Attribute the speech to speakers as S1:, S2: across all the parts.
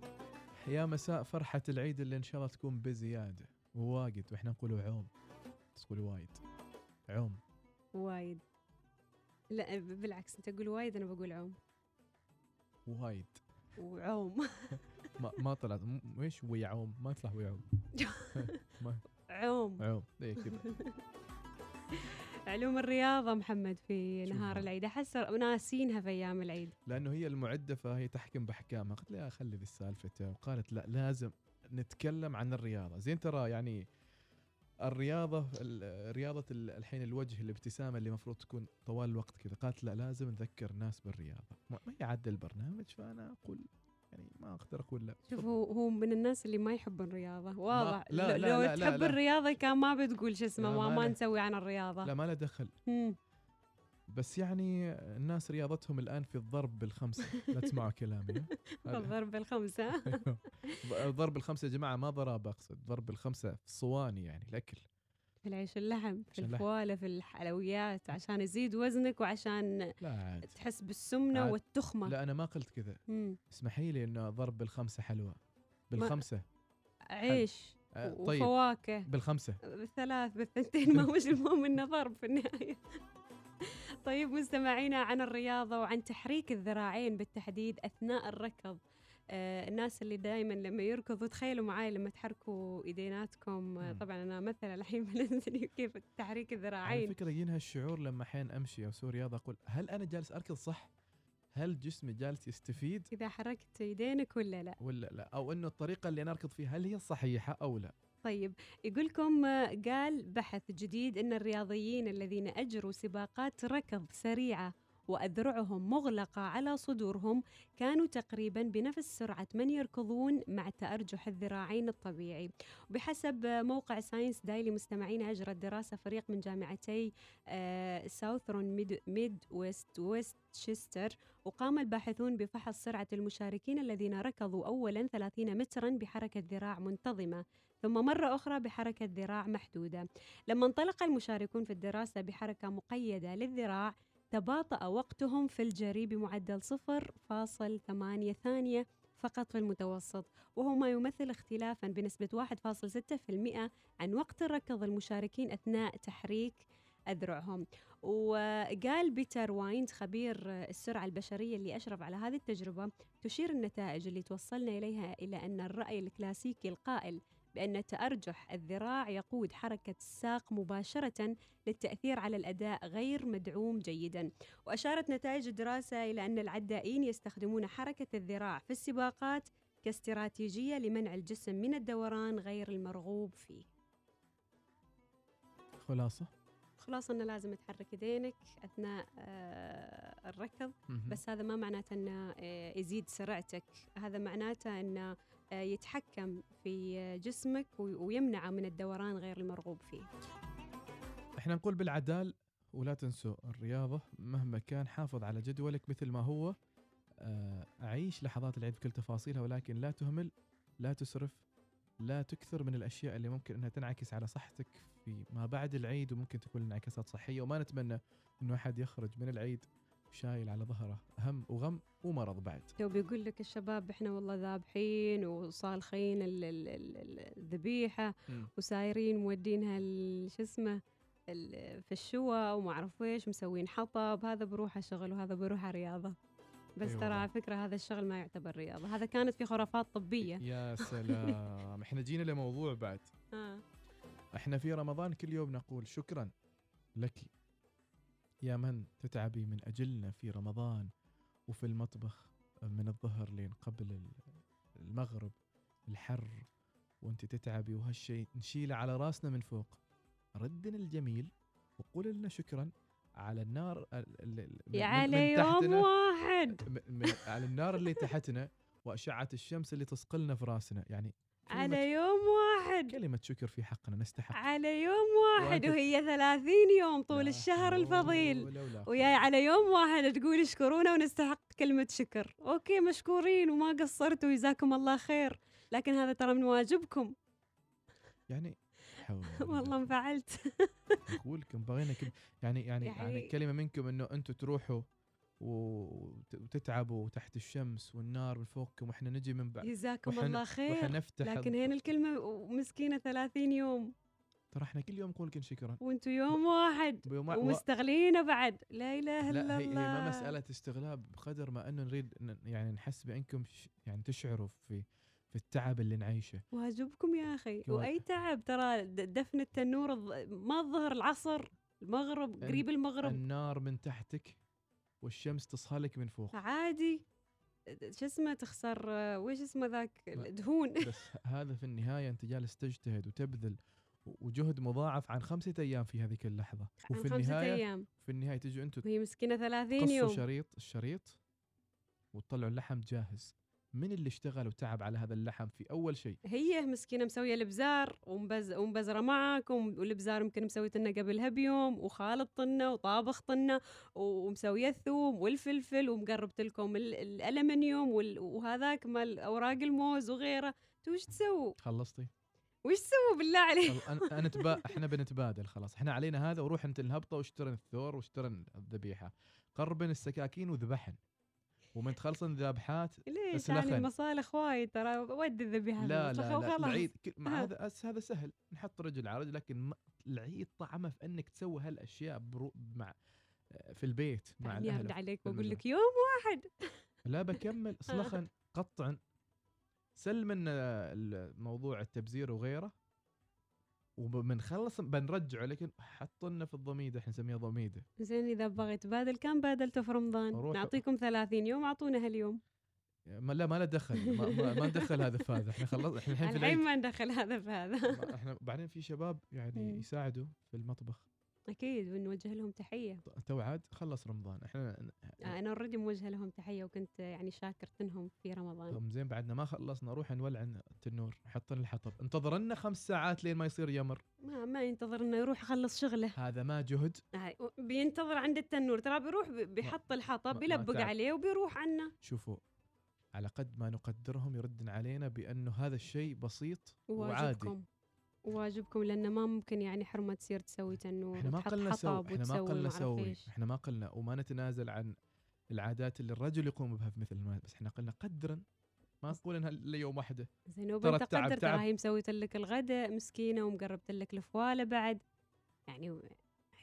S1: صبح يا مساء فرحة العيد اللي إن شاء الله تكون بزيادة وواجد وإحنا نقول عوم تقول وايد عوم
S2: وايد لا ب- بالعكس انت تقول وايد انا بقول عوم
S1: وايد
S2: وعوم
S1: ما, ما طلعت م- ايش ويعوم ما يطلع ويعوم ما
S2: عوم
S1: عوم اي كذا
S2: علوم الرياضه محمد في
S1: شوفها.
S2: نهار العيد احس ناسينها في ايام العيد
S1: لانه هي المعده فهي تحكم باحكامها قلت لها خلي ذي السالفه وقالت لا لازم نتكلم عن الرياضه زين ترى يعني الرياضه ال- رياضه ال- الحين الوجه الابتسامه اللي المفروض تكون طوال الوقت كذا قالت لا لازم نذكر الناس بالرياضه ما ما هي عاد البرنامج فانا اقول يعني ما اقدر اقول لا
S2: شوف هو هو من الناس اللي ما يحب الرياضه واضح
S1: لا-
S2: لو-
S1: لا-
S2: لو
S1: لا- لا-
S2: تحب
S1: لا.
S2: الرياضه كان ما بتقول شو اسمه
S1: لا،
S2: ما,
S1: ما
S2: ما
S1: له.
S2: نسوي عن الرياضه
S1: لا ما له دخل
S2: مم.
S1: بس يعني الناس رياضتهم الان في الضرب بالخمسه لا تسمعوا كلامي
S2: الضرب الخمسه
S1: ضرب الخمسه يا جماعه ما ضرب اقصد ضرب الخمسه في الصواني يعني الاكل
S2: في العيش اللحم في
S1: عشان اللحم.
S2: الفواله في الحلويات عشان يزيد وزنك وعشان
S1: لا عاد
S2: تحس بالسمنه
S1: عاد.
S2: والتخمه
S1: لا انا ما قلت كذا
S2: مم.
S1: اسمحي لي انه ضرب بالخمسه حلوى بالخمسه
S2: عيش
S1: آه، طيب
S2: وفواكه
S1: بالخمسه
S2: بالثلاث بالثنتين ما هو مش المهم انه ضرب في النهايه طيب مستمعينا عن الرياضه وعن تحريك الذراعين بالتحديد اثناء الركض آه الناس اللي دائما لما يركضوا تخيلوا معي لما تحركوا ايديناتكم آه
S1: مم.
S2: طبعا انا مثلا الحين بنزل كيف تحريك
S1: على
S2: الذراعين
S1: فكره يجيني هالشعور لما احيانا امشي او اسوي رياضه اقول هل انا جالس اركض صح؟ هل جسمي جالس يستفيد
S2: اذا حركت ايدينك ولا لا
S1: ولا لا؟ او انه الطريقه اللي انا اركض فيها هل هي الصحيحه او لا؟
S2: طيب يقولكم آه، قال بحث جديد أن الرياضيين الذين أجروا سباقات ركض سريعة وأذرعهم مغلقة على صدورهم كانوا تقريبا بنفس سرعة من يركضون مع تأرجح الذراعين الطبيعي بحسب آه، موقع ساينس دايلي مستمعين أجرت دراسة فريق من جامعتي آه، ساوثرون ميد, ميد ويست ويستشستر وقام الباحثون بفحص سرعة المشاركين الذين ركضوا أولا 30 مترا بحركة ذراع منتظمة ثم مرة أخرى بحركة ذراع محدودة لما انطلق المشاركون في الدراسة بحركة مقيدة للذراع تباطأ وقتهم في الجري بمعدل 0.8 ثانية فقط في المتوسط وهو ما يمثل اختلافا بنسبة 1.6% عن وقت الركض المشاركين أثناء تحريك أذرعهم وقال بيتر وايند خبير السرعة البشرية اللي أشرف على هذه التجربة تشير النتائج اللي توصلنا إليها إلى أن الرأي الكلاسيكي القائل بأن تأرجح الذراع يقود حركة الساق مباشرة للتأثير على الأداء غير مدعوم جيدا وأشارت نتائج الدراسة إلى أن العدائين يستخدمون حركة الذراع في السباقات كاستراتيجية لمنع الجسم من الدوران غير المرغوب فيه
S1: خلاصه
S2: خلاص أنه لازم تحرك يدينك أثناء آه، الركض
S1: مهم.
S2: بس هذا ما معناته انه آه، يزيد سرعتك هذا معناته انه آه، يتحكم في آه، جسمك وي- ويمنعه من الدوران غير المرغوب فيه
S1: احنا نقول بالعدال ولا تنسوا الرياضة مهما كان حافظ على جدولك مثل ما هو آه، عيش لحظات العيد بكل تفاصيلها ولكن لا تهمل لا تسرف لا تكثر من الأشياء اللي ممكن أنها تنعكس على صحتك في ما بعد العيد وممكن تكون انعكاسات صحية وما نتمنى أنه أحد يخرج من العيد شايل على ظهره هم وغم ومرض بعد
S2: لو بيقول لك الشباب احنا والله ذابحين وصالخين ال- ال- ال- ال- الذبيحه
S1: مم.
S2: وسايرين مودينها ال- شو اسمه ال- في الشوا وما اعرف ايش مسوين حطب هذا بروحه شغل وهذا بروحه رياضه بس
S1: أي
S2: ترى
S1: والله.
S2: على فكره هذا الشغل ما يعتبر رياضه هذا كانت في خرافات طبيه
S1: يا سلام احنا جينا لموضوع بعد
S2: آه.
S1: احنا في رمضان كل يوم نقول شكرا لك يا من تتعبي من اجلنا في رمضان وفي المطبخ من الظهر لين قبل ال- المغرب الحر وانت تتعبي وهالشيء نشيله على راسنا من فوق ردنا الجميل وقول لنا شكرا على النار ال- ال- ال- من-
S2: يا
S1: من-
S2: علي
S1: من
S2: يوم
S1: تحتنا-
S2: واحد
S1: من- من- على النار اللي تحتنا واشعه الشمس اللي تصقلنا في راسنا يعني كلمة-
S2: على يوم واحد
S1: كلمه شكر في حقنا نستحق
S2: على يوم واحد
S1: وأنت-
S2: وهي ثلاثين يوم طول
S1: لا
S2: الشهر
S1: حول
S2: الفضيل يعني
S1: ولا قوة.
S2: وياي على يوم واحد تقول اشكرونا ونستحق كلمة شكر أوكي مشكورين وما قصرتوا جزاكم الله خير لكن هذا ترى من واجبكم
S1: يعني حول
S2: والله انفعلت
S1: اقول لكم بغينا كم يعني يعني
S2: يعني-
S1: يعني كلمه منكم انه انتم تروحوا وت- وتتعبوا تحت الشمس والنار من فوقكم واحنا نجي من بعد
S2: جزاكم
S1: وحن-
S2: الله خير
S1: وحنفتح
S2: لكن هنا الكلمة مسكينة 30 يوم
S1: ترى احنا كل يوم نقول لكم شكرا
S2: وانتم يوم واحد
S1: بيوم وا-
S2: ومستغلينه بعد لا إله إلا
S1: لا هي, هي
S2: الله
S1: ما مسألة استغلال بقدر ما انه نريد ن- يعني نحس بانكم ش- يعني تشعروا في في التعب اللي نعيشه
S2: واجبكم يا أخي
S1: كمان.
S2: وأي تعب ترى د- دفن التنور الظ- ما الظهر العصر المغرب
S1: أن-
S2: قريب المغرب
S1: النار من تحتك والشمس تصهلك من فوق
S2: عادي شو اسمه تخسر آه، وش اسمه ذاك
S1: ما-
S2: الدهون
S1: بس هذا في النهاية انت جالس تجتهد وتبذل و- وجهد مضاعف عن خمسة ايام في هذيك اللحظة
S2: عن
S1: وفي
S2: خمسة
S1: النهاية
S2: أيام
S1: في النهاية تجوا انتم
S2: وهي مسكينة 30
S1: تقصوا
S2: يوم
S1: شريط الشريط وتطلعوا اللحم جاهز من اللي اشتغل وتعب على هذا اللحم في اول شيء
S2: هي مسكينة مسوية البزار ومبز ومبزرة معك وم- والبزار يمكن مسويتنا قبلها بيوم وخالط طنة وطابخ طنة و- ومسوية الثوم والفلفل ومقربت لكم ال- الألمنيوم وال- وهذاك مال أوراق الموز وغيره انتوا وش تسووا؟
S1: خلصتي
S2: وش تسووا بالله عليك؟
S1: خل- أنا- أنا تبا... احنا بنتبادل خلاص احنا علينا هذا وروح انت الهبطه واشترن الثور واشترن الذبيحه قربن السكاكين وذبحن ومن تخلصن ذابحات
S2: ليش
S1: بس
S2: يعني
S1: لخن.
S2: المصالح وايد ترى ودي الذبيحة
S1: لا
S2: المصلحة
S1: لا لا
S2: وخلاص.
S1: العيد كل- مع
S2: ها.
S1: هذا أس- هذا سهل نحط رجل على رجل لكن ما... العيد طعمه في انك تسوي هالاشياء برو... مع آه، في البيت مع
S2: يعني
S1: الاهل
S2: ارد عليك واقول
S1: بالمجمع.
S2: لك يوم واحد
S1: لا
S2: آه.
S1: بكمل اصلخا قطعا سلم موضوع التبزير وغيره وبنخلص بنرجعه لكن حطنا في الضميده احنا نسميها ضميده
S2: زين اذا بغيت بادل كم بادلته في رمضان؟
S1: روح-
S2: نعطيكم 30 يوم اعطونا هاليوم
S1: ما لا ما له دخل ما, ما, ما ندخل هذا في هذا احنا خلص احنا الحين في
S2: الحين
S1: العيد
S2: ما ندخل هذا في هذا
S1: ما- احنا بعدين في شباب يعني
S2: مم.
S1: يساعدوا في المطبخ
S2: اكيد بنوجه لهم تحيه
S1: ط- تو عاد خلص رمضان احنا
S2: آه، انا اوريدي موجهه لهم تحيه وكنت آه، يعني شاكرتنهم في رمضان
S1: هم زين بعدنا ما خلصنا روح نولع التنور حطنا الحطب انتظرنا خمس ساعات لين ما يصير يمر
S2: ما, ما ينتظر انه يروح يخلص شغله
S1: هذا ما جهد
S2: آه، بينتظر عند التنور ترى بيروح بي- بيحط الحطب
S1: ما- ما
S2: بيلبق
S1: تعب.
S2: عليه وبيروح عنا
S1: شوفوا على قد ما نقدرهم يردن علينا بانه هذا الشيء بسيط وعادي
S2: واجبكم واجبكم لانه ما ممكن يعني حرمه تصير تسوي تنور
S1: احنا ما
S2: وتحط
S1: قلنا سوي
S2: حطب
S1: احنا ما
S2: وتسوي
S1: قلنا
S2: ما
S1: سوي
S2: إيش.
S1: احنا ما قلنا وما نتنازل عن العادات اللي الرجل يقوم بها في مثل ما بس احنا قلنا قدرا ما نقول انها ليوم واحده
S2: زينوب
S1: ترى
S2: انت
S1: التعب
S2: قدر ترى
S1: تعب.
S2: هي مسويت لك الغداء مسكينه ومقربت لك الفواله بعد يعني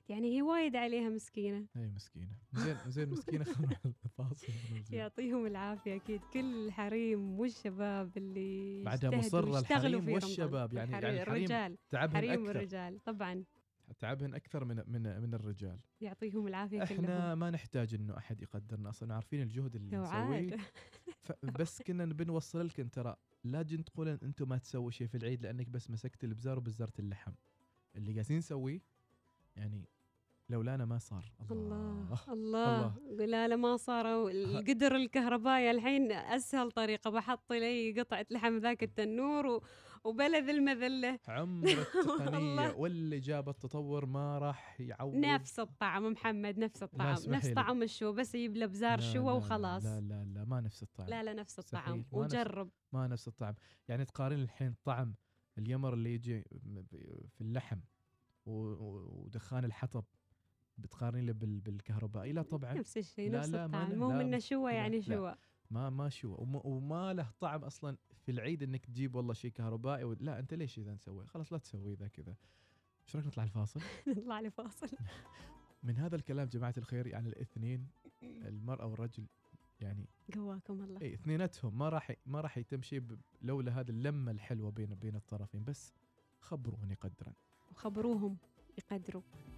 S2: يعني هي وايد عليها مسكينه
S1: هي مسكينه زين زين مسكينه خلنا فاصل ونرجع.
S2: يعطيهم العافية أكيد كل الحريم والشباب اللي
S1: بعدها
S2: اجتهدوا
S1: مصرة
S2: واشتغلوا
S1: الحريم
S2: في رمضان.
S1: والشباب، يعني- يعني الحريم
S2: الرجال
S1: تعبهن
S2: حريم
S1: اكثر
S2: والرجال طبعا
S1: تعبهن اكثر من من من الرجال
S2: يعطيهم العافية كلهم
S1: احنا ما نحتاج انه احد يقدرنا اصلا عارفين الجهد اللي
S2: لو
S1: نسويه
S2: عاد
S1: ف- بس كنا بنوصل لكم ترى لا جن تقولن انتم ما تسووا شيء في العيد لانك بس مسكت البزار وبزرت اللحم اللي قاعدين نسويه يعني لولانا ما صار
S2: الله
S1: الله
S2: الله لا لا ما صاروا القدر الكهربائي الحين اسهل طريقه بحط لي قطعه لحم ذاك التنور و- وبلا ذي المذله
S1: عمر التقنيه
S2: والله.
S1: واللي جاب التطور ما راح يعوض
S2: نفس الطعم محمد نفس الطعم نفس
S1: اسمحي لي.
S2: طعم الشو بس يجيب له
S1: لا،
S2: بزار شوى
S1: لا،
S2: وخلاص
S1: لا لا لا ما نفس الطعم
S2: لا لا نفس الطعم
S1: مستحيل، ما نفس-
S2: وجرب
S1: ما نفس الطعم يعني تقارن الحين طعم اليمر اللي يجي م- ب- في اللحم و- و- ودخان الحطب بتقارن له بال- بالكهربائي لا طبعا
S2: نفس الشيء
S1: لا،
S2: نفس
S1: لا، ما
S2: الطعم
S1: ن-
S2: مو
S1: لا،
S2: منه شوى
S1: لا،
S2: يعني
S1: لا.
S2: شوى
S1: ما ما شو وما, وما له طعم اصلا في العيد انك تجيب والله شيء كهربائي و- لا انت ليش اذا نسوي خلاص لا تسوي ذا كذا ايش رايك نطلع الفاصل
S2: نطلع لفاصل
S1: من هذا الكلام جماعه الخير يعني الاثنين المراه والرجل يعني
S2: قواكم الله
S1: اي اثنيناتهم ما راح ما راح يتم شيء ب- لولا هذه اللمه الحلوه بين بين الطرفين بس خبروني قدرا
S2: وخبروهم يقدروا